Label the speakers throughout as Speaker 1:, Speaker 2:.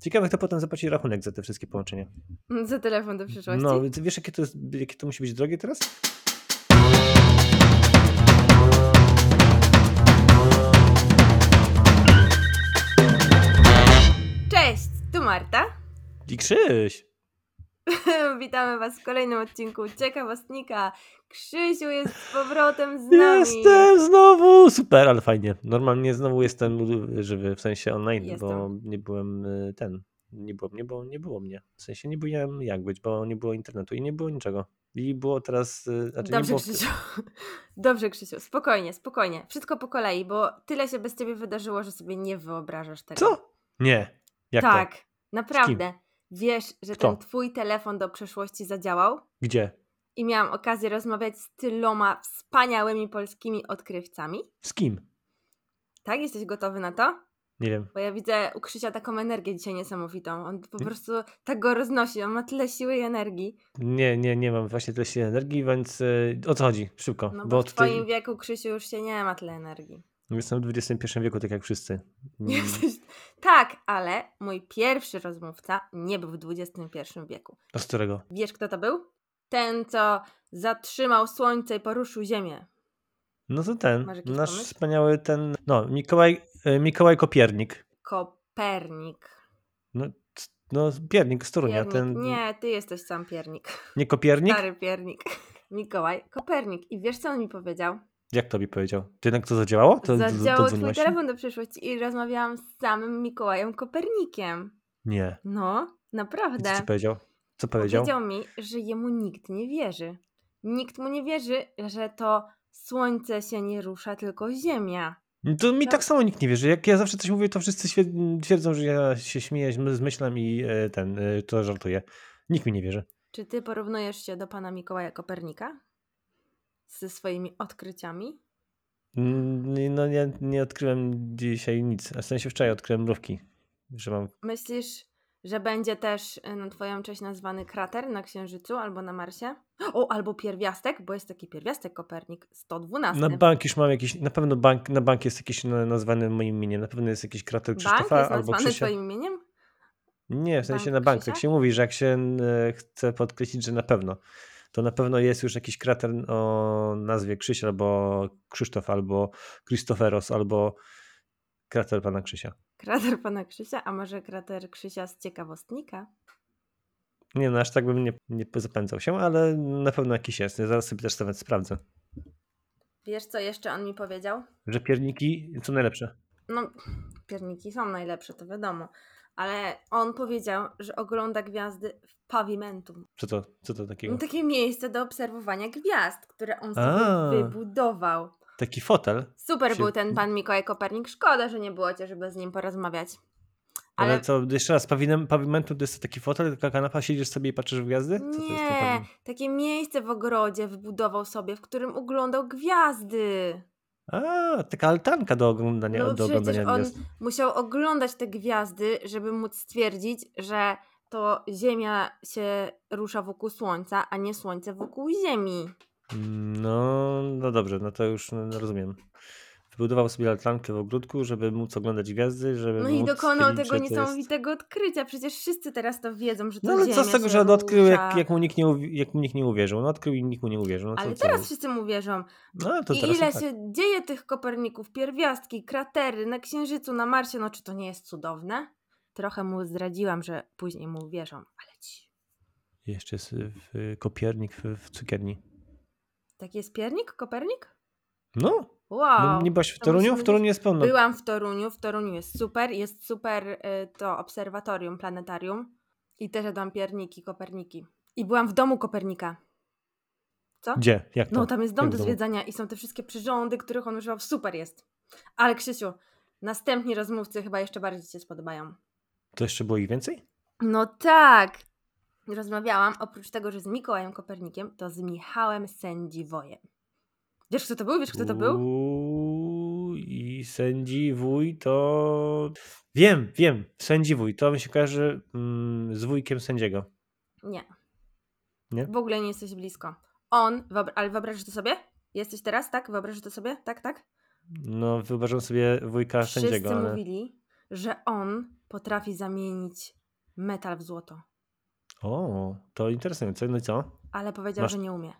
Speaker 1: Ciekawe, kto potem zapłaci rachunek za te wszystkie połączenia.
Speaker 2: Za telefon do przyszłości.
Speaker 1: No, ty wiesz, jakie to, jest, jakie to musi być drogie teraz?
Speaker 2: Cześć, tu Marta.
Speaker 1: I Krzyś!
Speaker 2: Witamy Was w kolejnym odcinku Ciekawostnika. Krzysiu jest z powrotem z nami.
Speaker 1: Jestem znowu! Super, ale fajnie. Normalnie znowu jestem żywy, w sensie online,
Speaker 2: Jestem.
Speaker 1: bo nie byłem y, ten. Nie było mnie, bo nie było mnie. W sensie nie byłem jak być, bo nie było internetu i nie było niczego. I było teraz... y, Znaczy nie
Speaker 2: Dobrze,
Speaker 1: było...
Speaker 2: Krzysiu. Dobrze, Krzysiu. Spokojnie, spokojnie. Wszystko po kolei, bo tyle się bez Ciebie wydarzyło, że sobie nie wyobrażasz tego.
Speaker 1: Co? Nie. Jak
Speaker 2: tak,
Speaker 1: to?
Speaker 2: naprawdę. Wiesz, że
Speaker 1: Kto?
Speaker 2: ten Twój telefon do przeszłości zadziałał?
Speaker 1: Gdzie?
Speaker 2: I miałam okazję rozmawiać z tyloma wspaniałymi polskimi odkrywcami.
Speaker 1: Z kim?
Speaker 2: Tak? Jesteś gotowy na to?
Speaker 1: Nie wiem.
Speaker 2: Bo ja widzę u Krzysia taką energię dzisiaj niesamowitą. On po prostu tak go roznosi, on ma tyle siły i energii.
Speaker 1: Nie, nie, nie mam właśnie tyle siły energii, więc y, o co chodzi? Szybko.
Speaker 2: No bo,
Speaker 1: bo
Speaker 2: w
Speaker 1: tutaj
Speaker 2: twoim wieku Krzysiu już się nie ma tyle energii.
Speaker 1: jestem w XXI wieku, tak jak wszyscy. Mm.
Speaker 2: Jesteś... Tak, ale mój pierwszy rozmówca nie był w XXI wieku.
Speaker 1: A z którego?
Speaker 2: Wiesz kto to był? Ten, co zatrzymał słońce i poruszył ziemię.
Speaker 1: No to ten,
Speaker 2: Masz jakiś
Speaker 1: nasz
Speaker 2: pomysł?
Speaker 1: wspaniały ten, no Mikołaj, e, Mikołaj Kopiernik.
Speaker 2: Kopernik.
Speaker 1: No, c- no Piernik z Torunia,
Speaker 2: Piernik.
Speaker 1: ten,
Speaker 2: Nie, ty jesteś sam piernik.
Speaker 1: nie Kopiernik?
Speaker 2: Stary piernik. Mikołaj Kopernik. I wiesz co on mi powiedział?
Speaker 1: Jak tobie powiedział? Ty jednak to zadziałało? To, to- to
Speaker 2: Zadziałał twój
Speaker 1: dzwoniłaś?
Speaker 2: telefon do przyszłości i rozmawiałam z samym Mikołajem Kopernikiem.
Speaker 1: Nie.
Speaker 2: No,
Speaker 1: I
Speaker 2: naprawdę.
Speaker 1: Co ci powiedział? Co powiedział?
Speaker 2: Powiedział mi, że jemu nikt nie wierzy. Nikt mu nie wierzy, że to słońce się nie rusza, tylko ziemia.
Speaker 1: No To mi
Speaker 2: No.
Speaker 1: tak samo nikt nie wierzy. Jak ja zawsze coś mówię, to wszyscy świe- twierdzą, że ja się śmieję, z- zmyślam i e, ten, e, to żartuję. Nikt mi nie wierzy.
Speaker 2: Czy ty porównujesz się do pana Mikołaja Kopernika? Ze swoimi odkryciami?
Speaker 1: Mm, No nie, nie odkryłem dzisiaj nic. W sensie wczoraj odkryłem mrówki, że mam
Speaker 2: Myślisz, że będzie też y, na twoją cześć nazwany krater na Księżycu albo na Marsie? O, albo pierwiastek, bo jest taki pierwiastek Kopernik 112.
Speaker 1: Na bank już mam jakiś, na pewno bank, na bank jest jakiś na- nazwany moim imieniem, na pewno jest jakiś krater
Speaker 2: Bank
Speaker 1: Krzysztofa
Speaker 2: jest
Speaker 1: albo
Speaker 2: nazwany
Speaker 1: Krzysia.
Speaker 2: twoim imieniem?
Speaker 1: Nie, w sensie
Speaker 2: bank
Speaker 1: na bank, tak
Speaker 2: Krzysia?
Speaker 1: się mówi, że jak się e, chce podkreślić, że na pewno, to na pewno jest już jakiś krater o nazwie Krzyś albo Krzysztof albo Christoferos albo krater pana Krzysia.
Speaker 2: Krater pana Krzysia, a może krater Krzysia z ciekawostnika?
Speaker 1: Nie no, aż tak bym nie, nie zapędzał się, ale na pewno jakiś jest. Ja zaraz sobie też nawet sprawdzę.
Speaker 2: Wiesz, co jeszcze on mi powiedział?
Speaker 1: Że pierniki są najlepsze.
Speaker 2: No, pierniki są najlepsze, to wiadomo. Ale on powiedział, że ogląda gwiazdy w pawimentum.
Speaker 1: Co to, co to takiego?
Speaker 2: No, takie miejsce do obserwowania gwiazd, które on sobie
Speaker 1: A.
Speaker 2: wybudował.
Speaker 1: Taki fotel,
Speaker 2: Super
Speaker 1: Się-
Speaker 2: był ten pan Mikołaj Kopernik. Szkoda, że nie było cię, żeby z nim porozmawiać.
Speaker 1: Ale,
Speaker 2: Ale
Speaker 1: co, jeszcze raz, pawinem, pawimentu to jest taki fotel, taka kanapa, siedzisz sobie i patrzysz w gwiazdy? Co to jest ten
Speaker 2: nie,
Speaker 1: pawimen?
Speaker 2: takie miejsce w ogrodzie wybudował sobie, w którym oglądał gwiazdy.
Speaker 1: A, taka altanka do oglądania,
Speaker 2: No bo
Speaker 1: do
Speaker 2: przecież
Speaker 1: oglądania
Speaker 2: on-
Speaker 1: gwiazd.
Speaker 2: Musiał oglądać te gwiazdy, żeby móc stwierdzić, że to Ziemia się rusza wokół Słońca, a nie Słońce wokół Ziemi.
Speaker 1: Mm, No, no dobrze, no to już no, rozumiem. Wybudował sobie altankę w ogródku, żeby móc oglądać gwiazdy, żeby
Speaker 2: No i
Speaker 1: móc
Speaker 2: dokonał
Speaker 1: stwierdzić,
Speaker 2: tego
Speaker 1: że to jest-
Speaker 2: niesamowitego odkrycia. Przecież wszyscy teraz to wiedzą, że to
Speaker 1: No ale
Speaker 2: Ziemia
Speaker 1: co z tego,
Speaker 2: się
Speaker 1: że on odkrył, jak,
Speaker 2: rusza.
Speaker 1: jak, mu nikt nie, uwi- jak mu nikt nie uwierzył? No odkrył i nikt mu nie uwierzył. No, to
Speaker 2: Ale
Speaker 1: co
Speaker 2: teraz
Speaker 1: robić?
Speaker 2: wszyscy mu wierzą.
Speaker 1: No, to
Speaker 2: I
Speaker 1: teraz
Speaker 2: ile
Speaker 1: tak.
Speaker 2: się dzieje tych Koperników, pierwiastki, kratery na Księżycu, na Marsie, no czy to nie jest cudowne? Trochę mu zdradziłam, że później mu wierzą, ale ci.
Speaker 1: Jeszcze jest y, w, y, kopiernik w, w cukierni.
Speaker 2: Taki tak jest piernik, Kopernik?
Speaker 1: No,
Speaker 2: Wow!
Speaker 1: no, nie byłaś w
Speaker 2: to
Speaker 1: Toruniu?
Speaker 2: musimy
Speaker 1: W Toruniu jest pełno.
Speaker 2: Byłam w Toruniu, w Toruniu jest super, jest super y, to obserwatorium, planetarium i też jadłam pierniki, Koperniki. I byłam w domu Kopernika. Co?
Speaker 1: Gdzie? Jak to?
Speaker 2: No tam jest dom
Speaker 1: Jak
Speaker 2: do
Speaker 1: w domu?
Speaker 2: zwiedzania i są te wszystkie przyrządy, których on używał. Super jest. Ale Krzysiu, następni rozmówcy chyba jeszcze bardziej Ci się spodobają.
Speaker 1: To jeszcze było ich więcej?
Speaker 2: No tak. Rozmawiałam oprócz tego, że z Mikołajem Kopernikiem, to z Michałem Sędziwojem. Wiesz, kto to był? Wiesz, kto to był?
Speaker 1: Uuu, I sędziwój to. Wiem, wiem, sędziwój. To mi się kojarzy mm, z wujkiem sędziego.
Speaker 2: Nie.
Speaker 1: Nie?
Speaker 2: W ogóle nie jesteś blisko. On, wyobra- ale wyobrażasz to sobie? Jesteś teraz, tak? Wyobrażasz to sobie? Tak, tak?
Speaker 1: No, wyobrażam sobie wujka
Speaker 2: Wszyscy
Speaker 1: sędziego, ale.
Speaker 2: mówili, że on potrafi zamienić metal w złoto.
Speaker 1: O, to interesujące. No i co?
Speaker 2: Ale powiedział,
Speaker 1: Masz-
Speaker 2: że nie umie.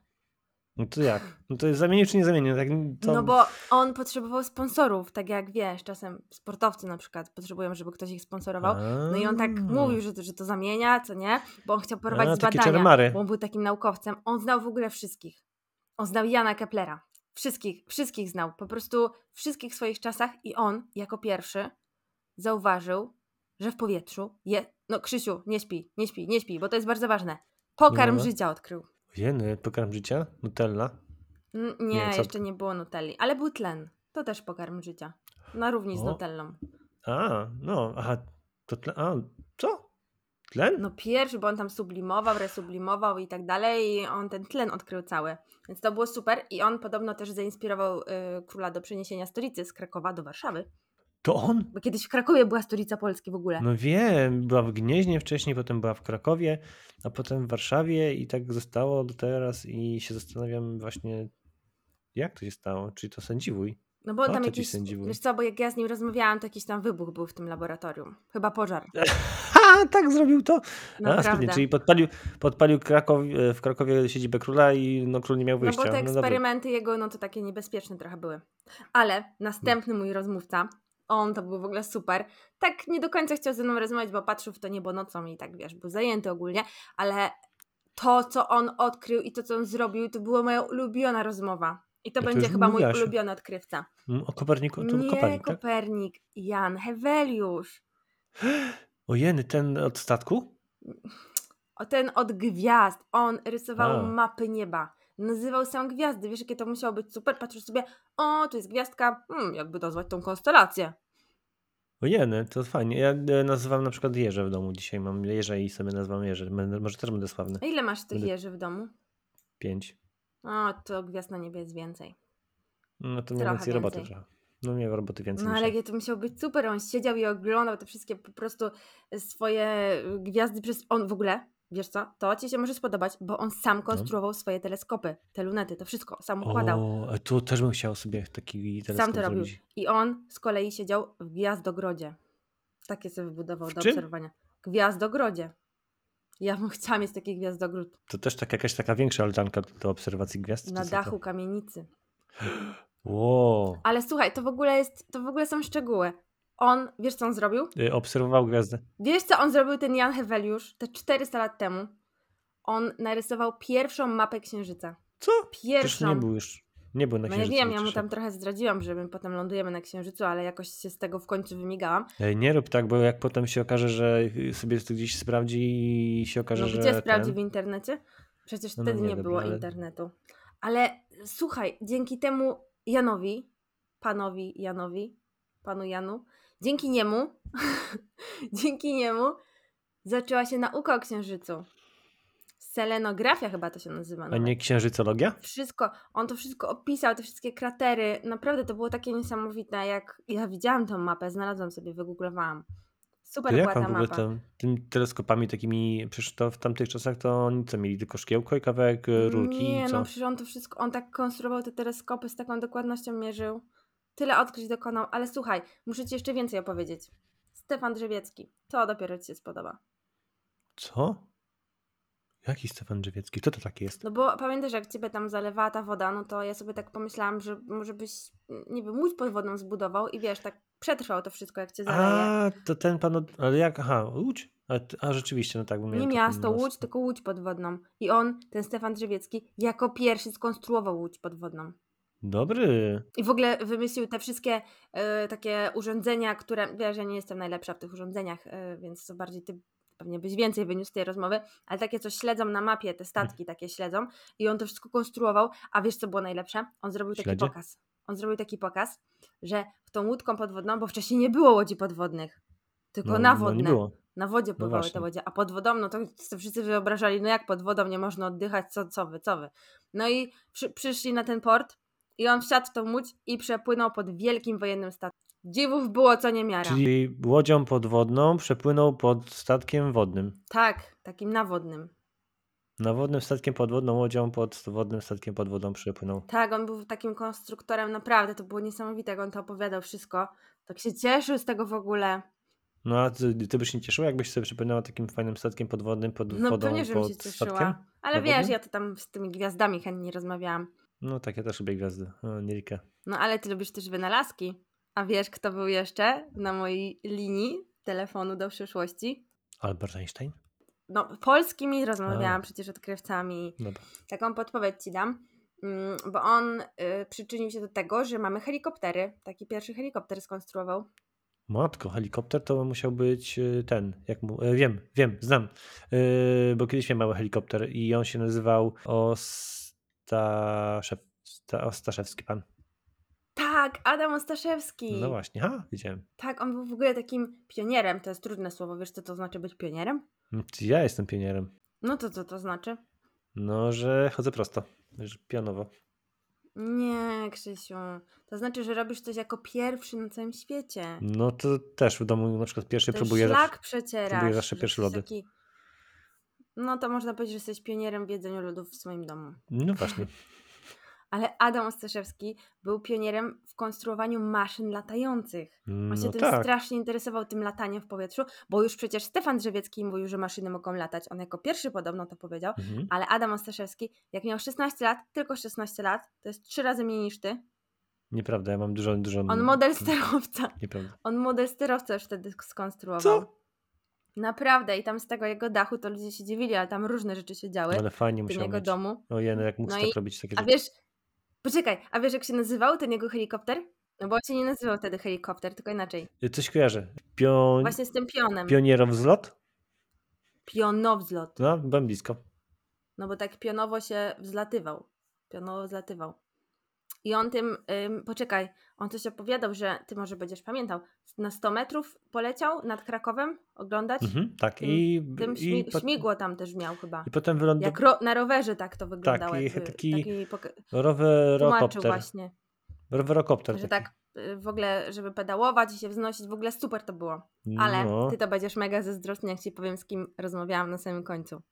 Speaker 1: No to jak? No to zamienił czy nie zamienił? Tak, to...
Speaker 2: No bo on potrzebował sponsorów, tak jak wiesz, czasem sportowcy na przykład potrzebują, żeby ktoś ich sponsorował. No i on tak
Speaker 1: A.
Speaker 2: mówił, że to, że to zamienia, co nie? Bo on chciał prowadzić
Speaker 1: Mm. A, takie
Speaker 2: badania,
Speaker 1: czarmary.
Speaker 2: bo on był takim naukowcem. On znał w ogóle wszystkich. On znał Jana Keplera. Wszystkich, wszystkich znał. Po prostu wszystkich w swoich czasach i on jako pierwszy zauważył, że w powietrzu je... No Krzysiu, nie śpi, nie śpi, nie śpi, bo to jest bardzo ważne. Pokarm
Speaker 1: No.
Speaker 2: życia odkrył.
Speaker 1: Jeny, pokarm życia? Nutella?
Speaker 2: N- nie,
Speaker 1: Nie, co-
Speaker 2: jeszcze nie było Nutelli, ale był tlen. To też pokarm życia. Na równi z
Speaker 1: O.
Speaker 2: Nutellą.
Speaker 1: A, no, aha, to tlen, a, co? Tlen?
Speaker 2: No pierwszy, bo on tam sublimował, resublimował i tak dalej i on ten tlen odkrył cały. Więc to było super i on podobno też zainspirował y, króla do przeniesienia stolicy z Krakowa do Warszawy.
Speaker 1: To on?
Speaker 2: Bo kiedyś w Krakowie była stolica Polski w ogóle.
Speaker 1: No wiem, była w Gnieźnie wcześniej, potem była w Krakowie, a potem w Warszawie i tak zostało do teraz i się zastanawiam właśnie, jak to się stało, czy to sędziwój?
Speaker 2: No bo
Speaker 1: O,
Speaker 2: tam
Speaker 1: to ci
Speaker 2: jakiś,
Speaker 1: sędzi był.
Speaker 2: wiesz co, bo jak ja z nim rozmawiałam, to jakiś tam wybuch był w tym laboratorium. Chyba pożar.
Speaker 1: Ha, tak zrobił to? A,
Speaker 2: Naprawdę.
Speaker 1: sprytnie, czyli podpalił, podpalił Krakow, e, w Krakowie siedzibę króla i no, król nie miał
Speaker 2: No
Speaker 1: wyjścia.
Speaker 2: bo te
Speaker 1: dobra.
Speaker 2: eksperymenty jego, no to takie niebezpieczne trochę były. Ale następny mój rozmówca, on to był w ogóle super. Tak nie do końca chciał ze mną rozmawiać, bo patrzył w to niebo nocą i tak wiesz, był zajęty ogólnie, ale to, co on odkrył i to, co on zrobił, to była moja ulubiona rozmowa. I to
Speaker 1: Ja to
Speaker 2: będzie
Speaker 1: już
Speaker 2: chyba mój
Speaker 1: mówiłaś.
Speaker 2: ulubiony odkrywca.
Speaker 1: Mm, O Koperniku? To był
Speaker 2: nie
Speaker 1: Kopernik, tak?
Speaker 2: Kopernik, Jan Heweliusz.
Speaker 1: O jeny, ten od statku?
Speaker 2: O ten od gwiazd. On rysował
Speaker 1: A.
Speaker 2: mapy nieba. Nazywał sam gwiazdy. Wiesz, jakie to musiało być super. Patrzysz sobie, o, tu jest gwiazdka. Hmm, jakby nazwać tą konstelację.
Speaker 1: O jeny, to fajnie. Ja e, nazywam na przykład Jerzę w domu dzisiaj. Mam Jerzę i sobie nazywam Jerzę. Będę, może też będę sławny.
Speaker 2: A ile masz tych
Speaker 1: Będę-
Speaker 2: jeży w domu?
Speaker 1: Pięć.
Speaker 2: O, to gwiazd na niebie jest więcej.
Speaker 1: No to mniej
Speaker 2: Trochę
Speaker 1: więcej roboty
Speaker 2: więcej.
Speaker 1: trochę. No miałem roboty więcej.
Speaker 2: No ale
Speaker 1: dzisiaj.
Speaker 2: jakie to musiało być super. On siedział i oglądał te wszystkie po prostu swoje y, gwiazdy przez... On w ogóle, wiesz co, to ci się może spodobać, bo on sam konstruował swoje teleskopy, te lunety, to wszystko sam układał.
Speaker 1: No. O, a tu też bym chciał sobie taki teleskop
Speaker 2: Sam to robił.
Speaker 1: zrobić.
Speaker 2: I on z kolei siedział w gwiazdogrodzie. Takie sobie wybudował
Speaker 1: W
Speaker 2: do
Speaker 1: czym?
Speaker 2: obserwowania. Gwiazdogrodzie. Ja bym chciała mieć taki gwiazdogród
Speaker 1: To też tak, jakaś taka większa altanka do, do obserwacji gwiazd?
Speaker 2: na
Speaker 1: czy co to?
Speaker 2: dachu kamienicy.
Speaker 1: Wow.
Speaker 2: Ale słuchaj, to w ogóle jest, to w ogóle są szczegóły. On, wiesz co on zrobił?
Speaker 1: Y, Obserwował gwiazdę.
Speaker 2: Wiesz co on zrobił, ten Jan Heweliusz, te 400 lat temu? On narysował pierwszą mapę księżyca.
Speaker 1: Co? Przecież
Speaker 2: Pierwszą.
Speaker 1: nie był już. Nie był na
Speaker 2: no ja
Speaker 1: księżycu.
Speaker 2: wiem, ja mu
Speaker 1: przecież.
Speaker 2: tam trochę zdradziłam, że my potem lądujemy na księżycu, ale jakoś się z tego w końcu wymigałam.
Speaker 1: Ej, nie rób tak, bo jak potem się okaże, że sobie to gdzieś sprawdzi i się okaże,
Speaker 2: No
Speaker 1: że.
Speaker 2: gdzie sprawdzi w
Speaker 1: ten...
Speaker 2: internecie? Przecież
Speaker 1: No, no
Speaker 2: wtedy
Speaker 1: nie,
Speaker 2: nie,
Speaker 1: dobra,
Speaker 2: było
Speaker 1: ale-
Speaker 2: internetu. Ale słuchaj, dzięki temu Janowi, panowi Janowi, panu Janu, dzięki niemu, dzięki niemu zaczęła się nauka o księżycu. Selenografia chyba to się nazywa.
Speaker 1: A
Speaker 2: nawet.
Speaker 1: nie księżycologia?
Speaker 2: Wszystko, on to wszystko opisał, te wszystkie kratery. Naprawdę to było takie niesamowite, jak ja widziałam tą mapę, znalazłam sobie, wygooglowałam. Super
Speaker 1: To jak
Speaker 2: była
Speaker 1: on
Speaker 2: ta
Speaker 1: w ogóle
Speaker 2: mapa.
Speaker 1: tam, tym teleskopami takimi, przecież to w tamtych czasach to oni co mieli, tylko szkiełko i kawałek e, rurki
Speaker 2: Nie,
Speaker 1: i co?
Speaker 2: no przecież on to wszystko, on tak konstruował te teleskopy, z taką dokładnością mierzył. Tyle odkryć dokonał, ale słuchaj, muszę ci jeszcze więcej opowiedzieć. Stefan Drzewiecki, to dopiero ci się spodoba.
Speaker 1: Co? Jaki Stefan Drzewiecki? Kto to taki jest?
Speaker 2: No bo pamiętasz, jak ciebie tam zalewała ta woda, no to ja sobie tak pomyślałam, że może byś, nie wiem, łódź pod wodą zbudował i wiesz, tak przetrwał to wszystko, jak cię zaleje.
Speaker 1: A, to ten pan, od... ale jak, aha, Łódź? A, t- a rzeczywiście, no tak, bo
Speaker 2: Nie
Speaker 1: miałem taką
Speaker 2: miasto
Speaker 1: nos-
Speaker 2: Łódź, tylko Łódź podwodną. I on, ten Stefan Drzewiecki, jako pierwszy skonstruował Łódź podwodną.
Speaker 1: Dobry.
Speaker 2: I w ogóle wymyślił te wszystkie e, takie urządzenia, które. Wiesz, ja nie jestem najlepsza w tych urządzeniach, e, więc to bardziej ty pewnie byś więcej wyniósł z tej rozmowy, ale takie, co śledzą na mapie,
Speaker 1: Hmm.
Speaker 2: te statki takie śledzą i on to wszystko konstruował, a wiesz, co było najlepsze? On zrobił taki
Speaker 1: Śledzie?
Speaker 2: pokaz. On zrobił taki pokaz, że tą łódką podwodną, bo wcześniej nie było łodzi podwodnych, tylko
Speaker 1: No, no
Speaker 2: nawodne.
Speaker 1: nie było.
Speaker 2: Na wodzie pływały
Speaker 1: No właśnie.
Speaker 2: te łodzie, a pod wodą, no to sobie wszyscy wyobrażali, no jak pod wodą nie można oddychać, co, co wy, co wy. No i przy, przyszli na ten port i on wsiadł w tą łódź i przepłynął pod wielkim wojennym statkiem. Dziwów było co niemiara.
Speaker 1: Czyli łodzią podwodną przepłynął pod statkiem wodnym.
Speaker 2: Tak, takim nawodnym.
Speaker 1: Na wodnym statkiem podwodną łodzią pod wodnym statkiem pod wodą przepłynął.
Speaker 2: Tak, on był takim konstruktorem, naprawdę, to było niesamowite, jak on to opowiadał wszystko. Tak się cieszył z tego w ogóle.
Speaker 1: No a ty, ty byś się nie cieszyła, jakbyś sobie przypominała takim fajnym statkiem podwodnym pod
Speaker 2: No
Speaker 1: wodą,
Speaker 2: pewnie, żebym
Speaker 1: pod
Speaker 2: się cieszyła.
Speaker 1: statkiem?
Speaker 2: Ale
Speaker 1: Dowodem?
Speaker 2: wiesz, ja to tam z tymi gwiazdami chętnie rozmawiałam.
Speaker 1: No tak, ja też lubię gwiazdy. O, Nilkę.
Speaker 2: No ale ty lubisz też wynalazki. A wiesz, kto był jeszcze na mojej linii telefonu do przyszłości?
Speaker 1: Albert Einstein?
Speaker 2: No, polskimi rozmawiałam przecież odkrywcami.
Speaker 1: Dobra.
Speaker 2: Taką podpowiedź ci dam, mm, bo on y, przyczynił się do tego, że mamy helikoptery. Taki pierwszy helikopter skonstruował.
Speaker 1: Matko, helikopter to musiał być y, ten, jak mu, y, wiem, wiem, znam, Y, bo kiedyś miałem mały helikopter i on się nazywał Ostaszew, Sta- Ostaszewski pan.
Speaker 2: Tak, Adam Ostaszewski.
Speaker 1: No właśnie, ha, widziałem.
Speaker 2: tak, on był w ogóle takim pionierem. To jest trudne słowo. Wiesz, co to znaczy być pionierem?
Speaker 1: Mm, ty, Ja jestem pionierem.
Speaker 2: No to co to znaczy?
Speaker 1: No, że chodzę prosto, że pionowo.
Speaker 2: Nie, Krzysiu. To znaczy, że robisz coś jako pierwszy na całym świecie.
Speaker 1: No to też w domu na przykład pierwszy
Speaker 2: Ten
Speaker 1: próbuję
Speaker 2: szlak
Speaker 1: zawsze-
Speaker 2: przecierasz.
Speaker 1: próbuję zawsze
Speaker 2: że
Speaker 1: pierwszy
Speaker 2: jesteś
Speaker 1: lody.
Speaker 2: Taki... No to można powiedzieć, że jesteś pionierem w jedzeniu lodów w swoim domu.
Speaker 1: No właśnie,
Speaker 2: Ale Adam Ostaszewski był pionierem w konstruowaniu maszyn latających. On się
Speaker 1: no
Speaker 2: tym
Speaker 1: tak.
Speaker 2: strasznie interesował, tym lataniem w powietrzu, bo już przecież Stefan Drzewiecki mówił, że maszyny mogą latać. On jako pierwszy podobno to powiedział.
Speaker 1: Mhm.
Speaker 2: Ale Adam Ostaszewski, jak miał 16 lat, tylko 16 lat, to jest trzy razy mniej niż ty.
Speaker 1: Nieprawda, ja mam dużo, dużo...
Speaker 2: On model sterowca.
Speaker 1: Nieprawda.
Speaker 2: On model sterowca już wtedy skonstruował.
Speaker 1: Co?
Speaker 2: Naprawdę, i tam z tego jego dachu to ludzie się dziwili, ale tam różne rzeczy się działy
Speaker 1: No, Ale fajnie
Speaker 2: w tym
Speaker 1: musiał
Speaker 2: jego
Speaker 1: mieć.
Speaker 2: domu.
Speaker 1: Ojej, no jak mógł
Speaker 2: No
Speaker 1: tak
Speaker 2: i-
Speaker 1: robić takie
Speaker 2: A
Speaker 1: rzeczy.
Speaker 2: wiesz, poczekaj, a wiesz jak się nazywał ten jego helikopter? No bo on się nie nazywał wtedy helikopter, tylko inaczej.
Speaker 1: Coś kojarzę. Pioń...
Speaker 2: Właśnie z tym pionem.
Speaker 1: Pionierów wzlot?
Speaker 2: Pionowzlot.
Speaker 1: No, byłem blisko.
Speaker 2: No bo tak pionowo się wzlatywał. Pionowo wzlatywał. I on tym, ym, poczekaj, on coś opowiadał, że ty może będziesz pamiętał. Na 100 metrów poleciał nad Krakowem oglądać.
Speaker 1: Mhm, tak.
Speaker 2: Tym-
Speaker 1: I,
Speaker 2: Tym
Speaker 1: i,
Speaker 2: śmi-
Speaker 1: po-
Speaker 2: śmigło tam też miał chyba.
Speaker 1: i potem wylądował
Speaker 2: Jak ro- na rowerze tak to wyglądało.
Speaker 1: i
Speaker 2: jakby
Speaker 1: taki
Speaker 2: poka- tłumaczył
Speaker 1: rowerokopter.
Speaker 2: właśnie,
Speaker 1: Rowerokopter.
Speaker 2: że
Speaker 1: taki.
Speaker 2: tak y, w ogóle, żeby pedałować i się wznosić, w ogóle super to było. Ale
Speaker 1: No,
Speaker 2: ty to będziesz mega zazdrosny, jak ci powiem, z kim rozmawiałam na samym końcu.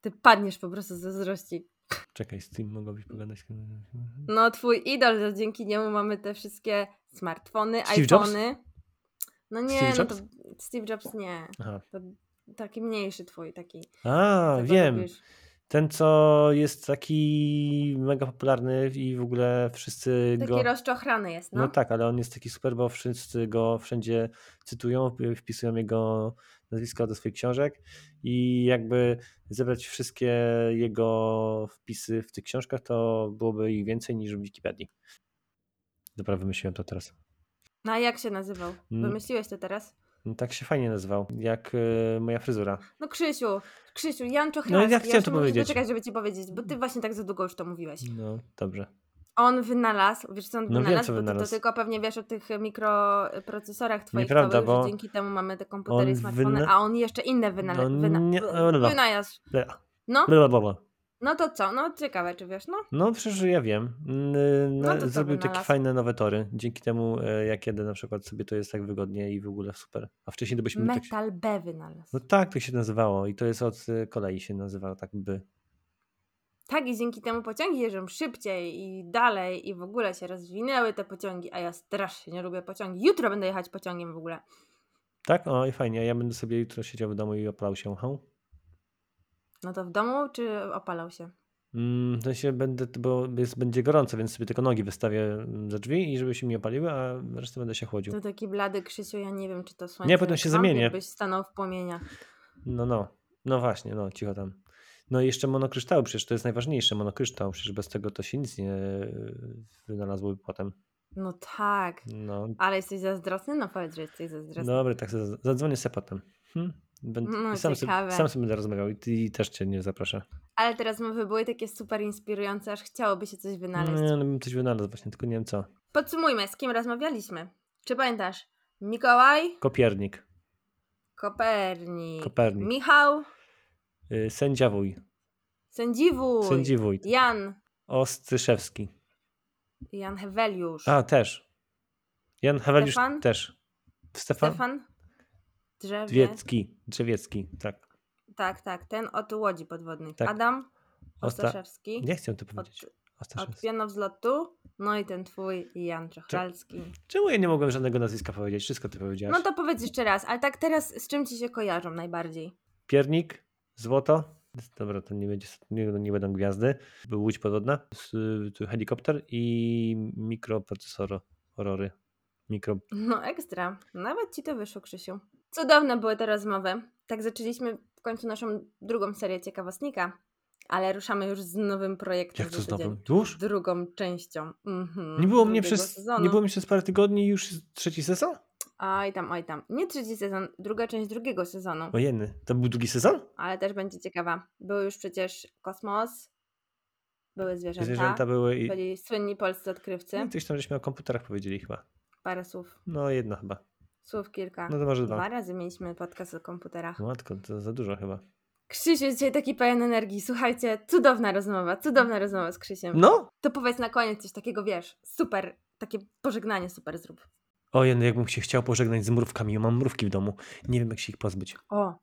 Speaker 2: Ty padniesz po prostu ze zazdrości.
Speaker 1: Czekaj, z tym mogłabyś pogadać.
Speaker 2: No, twój idol, że dzięki niemu mamy te wszystkie smartfony,
Speaker 1: Steve Jobs?
Speaker 2: iPhony. No nie,
Speaker 1: Steve
Speaker 2: no to
Speaker 1: Jobs?
Speaker 2: Steve Jobs nie.
Speaker 1: Aha.
Speaker 2: To taki mniejszy twój, taki.
Speaker 1: A,
Speaker 2: którego
Speaker 1: wiem.
Speaker 2: lubisz.
Speaker 1: Ten, co jest taki mega popularny i w ogóle wszyscy
Speaker 2: Taki
Speaker 1: go...
Speaker 2: rozczochrany jest, no.
Speaker 1: No tak, ale on jest taki super, bo wszyscy go wszędzie cytują, wpisują jego nazwisko do swoich książek i jakby zebrać wszystkie jego wpisy w tych książkach, to byłoby ich więcej niż w Wikipedii. Dobra, wymyśliłem to teraz.
Speaker 2: No a jak się nazywał?
Speaker 1: Mm.
Speaker 2: Wymyśliłeś to teraz?
Speaker 1: No, tak się fajnie nazywał, jak e, moja fryzura.
Speaker 2: No Krzysiu, Krzysiu, Jan Czochralski.
Speaker 1: No, ja chciałem
Speaker 2: już
Speaker 1: to
Speaker 2: nie mogę się
Speaker 1: powiedzieć.
Speaker 2: doczekać, żeby ci powiedzieć, bo ty właśnie tak za długo już to mówiłeś.
Speaker 1: No, dobrze.
Speaker 2: On wynalazł, wiesz co on
Speaker 1: No wiem,
Speaker 2: wynalazł,
Speaker 1: co
Speaker 2: bo Ty
Speaker 1: wynalazł.
Speaker 2: to tylko pewnie wiesz o tych mikroprocesorach twoich,
Speaker 1: Nieprawda,
Speaker 2: to już
Speaker 1: bo
Speaker 2: dzięki temu mamy te komputery i
Speaker 1: on
Speaker 2: smartfony,
Speaker 1: wyna-
Speaker 2: a on jeszcze inne wynalazł.
Speaker 1: No
Speaker 2: Wyna...
Speaker 1: nie-
Speaker 2: wy-
Speaker 1: no, no.
Speaker 2: Wynalazł.
Speaker 1: Bla,
Speaker 2: No,
Speaker 1: bla, bla, bla.
Speaker 2: no to co? No ciekawe, czy wiesz, no?
Speaker 1: No przecież ja wiem. N- y,
Speaker 2: No
Speaker 1: Na,
Speaker 2: to co
Speaker 1: zrobił takie
Speaker 2: wynalazł?
Speaker 1: fajne nowe tory. Dzięki temu e, jak jedę na przykład sobie to jest tak wygodnie i w ogóle super. A wcześniej to byśmy tak się...
Speaker 2: Metal B wynalazł.
Speaker 1: No tak to się nazywało i to jest od y, kolei się nazywa tak by.
Speaker 2: Tak i dzięki temu pociągi jeżdżą szybciej i dalej i w ogóle się rozwinęły te pociągi, a ja strasznie nie lubię pociągi. Jutro będę jechać pociągiem w ogóle.
Speaker 1: Tak? O i fajnie. Ja będę sobie jutro siedział w domu i opalał się. Hą?
Speaker 2: No to w domu, czy opalał się?
Speaker 1: Mm, W sensie będę, bo jest, będzie gorąco, więc sobie tylko nogi wystawię mm, za drzwi i żeby się mi opaliły, a resztę będę się chłodził.
Speaker 2: To taki blady Krzysiu, ja nie wiem, czy to słońce.
Speaker 1: Nie, potem
Speaker 2: jak
Speaker 1: się
Speaker 2: wampir
Speaker 1: zamienię.
Speaker 2: byś stanął w płomieniach.
Speaker 1: No, no. No właśnie, no cicho tam. No i jeszcze monokryształy, przecież to jest najważniejsze, monokryształ, przecież bez tego to się nic nie y, wynalazłoby potem.
Speaker 2: No tak.
Speaker 1: No,
Speaker 2: Ale jesteś zazdrosny? No powiedz, że jesteś zazdrosny.
Speaker 1: Dobra, tak sobie zaz- zadzwonię se potem. Hmm? Będę,
Speaker 2: No,
Speaker 1: i sam, sobie,
Speaker 2: ciekawe.
Speaker 1: sam sobie będę rozmawiał i, ty- i też cię nie zaproszę.
Speaker 2: Ale teraz mowy były takie super inspirujące, aż chciałoby się coś wynaleźć.
Speaker 1: Nie, no bym coś wynalazł właśnie, tylko nie wiem co.
Speaker 2: Podsumujmy, z kim rozmawialiśmy. Czy pamiętasz? Mikołaj,
Speaker 1: Kopiernik,
Speaker 2: Kopernik,
Speaker 1: Kopernik,
Speaker 2: Michał,
Speaker 1: y, sędzia wuj,
Speaker 2: Sędziwój,
Speaker 1: sędzi wójt,
Speaker 2: Jan,
Speaker 1: Ostyszewski.
Speaker 2: Jan Heweliusz,
Speaker 1: A, też. Jan Haweliusz
Speaker 2: Stefan?
Speaker 1: też. Stefan,
Speaker 2: Stefan, Drzewie,
Speaker 1: Drzewiecki, Drzewiecki, tak.
Speaker 2: tak, tak, ten od Łodzi Podwodnych,
Speaker 1: Tak.
Speaker 2: Adam
Speaker 1: Osta...
Speaker 2: Ostaszewski,
Speaker 1: Nie chcę to
Speaker 2: od,
Speaker 1: powiedzieć.
Speaker 2: od
Speaker 1: Ostaszewski.
Speaker 2: Pianowzlotu, No i ten twój Jan Czochralski.
Speaker 1: Czemu ja nie mogłem żadnego nazwiska powiedzieć? Wszystko ty powiedziałeś.
Speaker 2: No to powiedz jeszcze raz, ale tak teraz z czym ci się kojarzą najbardziej?
Speaker 1: Piernik, złoto. Dobra, to nie, będzie, nie, nie będą gwiazdy. Był łódź podwodna, s- tu helikopter i mikroprocesor Aurory. Mikro...
Speaker 2: No ekstra. Nawet ci to wyszło, Krzysiu. Cudowne były te rozmowy. Tak zaczęliśmy w końcu naszą drugą serię Ciekawostnika, ale ruszamy już z nowym projektem.
Speaker 1: Jak to
Speaker 2: za tydzień.
Speaker 1: znowu? Już?
Speaker 2: Drugą częścią. Mhm,
Speaker 1: Nie było, mnie
Speaker 2: drugiego
Speaker 1: przez,
Speaker 2: sezonu.
Speaker 1: nie było mnie przez parę tygodni i już jest trzeci sezon?
Speaker 2: Oj tam, oj tam. Nie trzeci sezon, druga część drugiego sezonu,
Speaker 1: Ojenny. To był drugi sezon?
Speaker 2: ale też będzie ciekawa. Był już przecież kosmos, były zwierzęta,
Speaker 1: Zwierzęta były i...
Speaker 2: byli słynni polscy odkrywcy.
Speaker 1: No, coś tam żeśmy o komputerach powiedzieli chyba.
Speaker 2: Parę słów,
Speaker 1: No jedno chyba.
Speaker 2: słów kilka.
Speaker 1: No to może
Speaker 2: Dwa
Speaker 1: dwa.
Speaker 2: razy mieliśmy podcast o komputerach.
Speaker 1: Matko, to za dużo chyba.
Speaker 2: Krzysiu jest dzisiaj taki pełen energii. Słuchajcie, cudowna rozmowa, cudowna rozmowa z Krzysiem.
Speaker 1: No!
Speaker 2: To powiedz na koniec coś takiego, wiesz, super, takie pożegnanie super zrób.
Speaker 1: Ojenny, jakbym się chciał pożegnać z mrówkami. Ja mam mrówki w domu. Nie wiem, jak się ich pozbyć.
Speaker 2: O,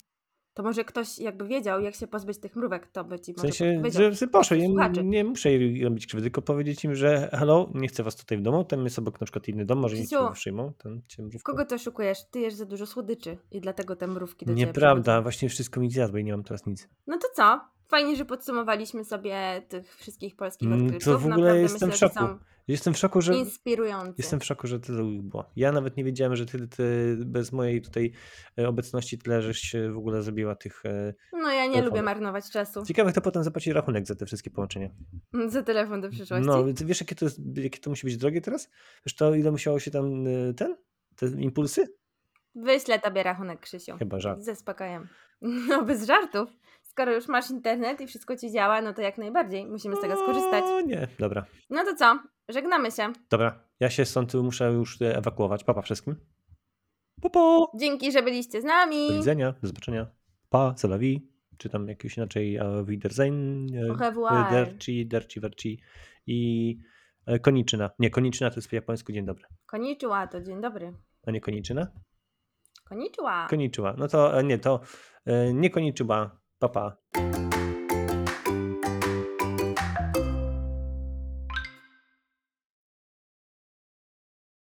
Speaker 2: to może ktoś jakby wiedział, jak się pozbyć tych mrówek, to by ci
Speaker 1: W
Speaker 2: może
Speaker 1: sensie,
Speaker 2: powiedział.
Speaker 1: że sobie poszły. Ja
Speaker 2: Słuchaczy.
Speaker 1: nie muszę jej robić krzywdy, tylko powiedzieć im, że hello, nie chcę was tutaj w domu, ten jest obok na przykład inny dom, może nic
Speaker 2: Krzysiu,
Speaker 1: nie przyjmą. Ten cię mrówką-
Speaker 2: Kogo to oszukujesz? Ty jesz za dużo słodyczy i dlatego te mrówki do ciebie
Speaker 1: Nieprawda,
Speaker 2: przychodzą.
Speaker 1: właśnie wszystko mi zjadło i nie mam teraz nic.
Speaker 2: No to co? Fajnie, że podsumowaliśmy sobie tych wszystkich polskich
Speaker 1: Mm, to
Speaker 2: odkrywców.
Speaker 1: w ogóle
Speaker 2: Naprawdę
Speaker 1: jestem
Speaker 2: myślę,
Speaker 1: w szoku, Jestem w szoku,
Speaker 2: Że
Speaker 1: że,
Speaker 2: są inspirujący.
Speaker 1: jestem w szoku, że tyle ich było. Ja nawet nie wiedziałem, że tyle, ty, bez mojej tutaj e, obecności tyle, żeś się w ogóle zrobiła tych... e,
Speaker 2: No ja nie
Speaker 1: Telefon.
Speaker 2: lubię marnować czasu
Speaker 1: Ciekawe, kto potem zapłaci rachunek za te wszystkie połączenia.
Speaker 2: za telefon do przyszłości.
Speaker 1: No, ty wiesz, jakie to, jest, jakie to musi być drogie teraz? Wiesz to, ile musiało się tam e, ten, te impulsy?
Speaker 2: Wyślę tobie rachunek, Krzysiu.
Speaker 1: Chyba żart.
Speaker 2: Zaspokajam. No bez żartów. Skoro już masz internet i wszystko ci działa, no to jak najbardziej musimy z tego skorzystać.
Speaker 1: O nie, dobra.
Speaker 2: No to co? Żegnamy się.
Speaker 1: Dobra, ja się stąd muszę już e, ewakuować. Papa wszystkim. Pa, pa.
Speaker 2: Dzięki, że byliście z
Speaker 1: Do
Speaker 2: nami.
Speaker 1: widzenia, do zobaczenia. Pa, salawi. Czy tam jakoś inaczej e, Wiedersehen, e,
Speaker 2: Au revoir.
Speaker 1: Derci, Derci, Werci i e, Koniczyna. Nie, Koniczyna to jest po japońsku dzień dobry.
Speaker 2: Koniczyła to dzień dobry.
Speaker 1: A nie Koniczyna?
Speaker 2: Koniczyła.
Speaker 1: Koniczyła. No to e, nie, to e, nie Koniczyła. Papa. Pa.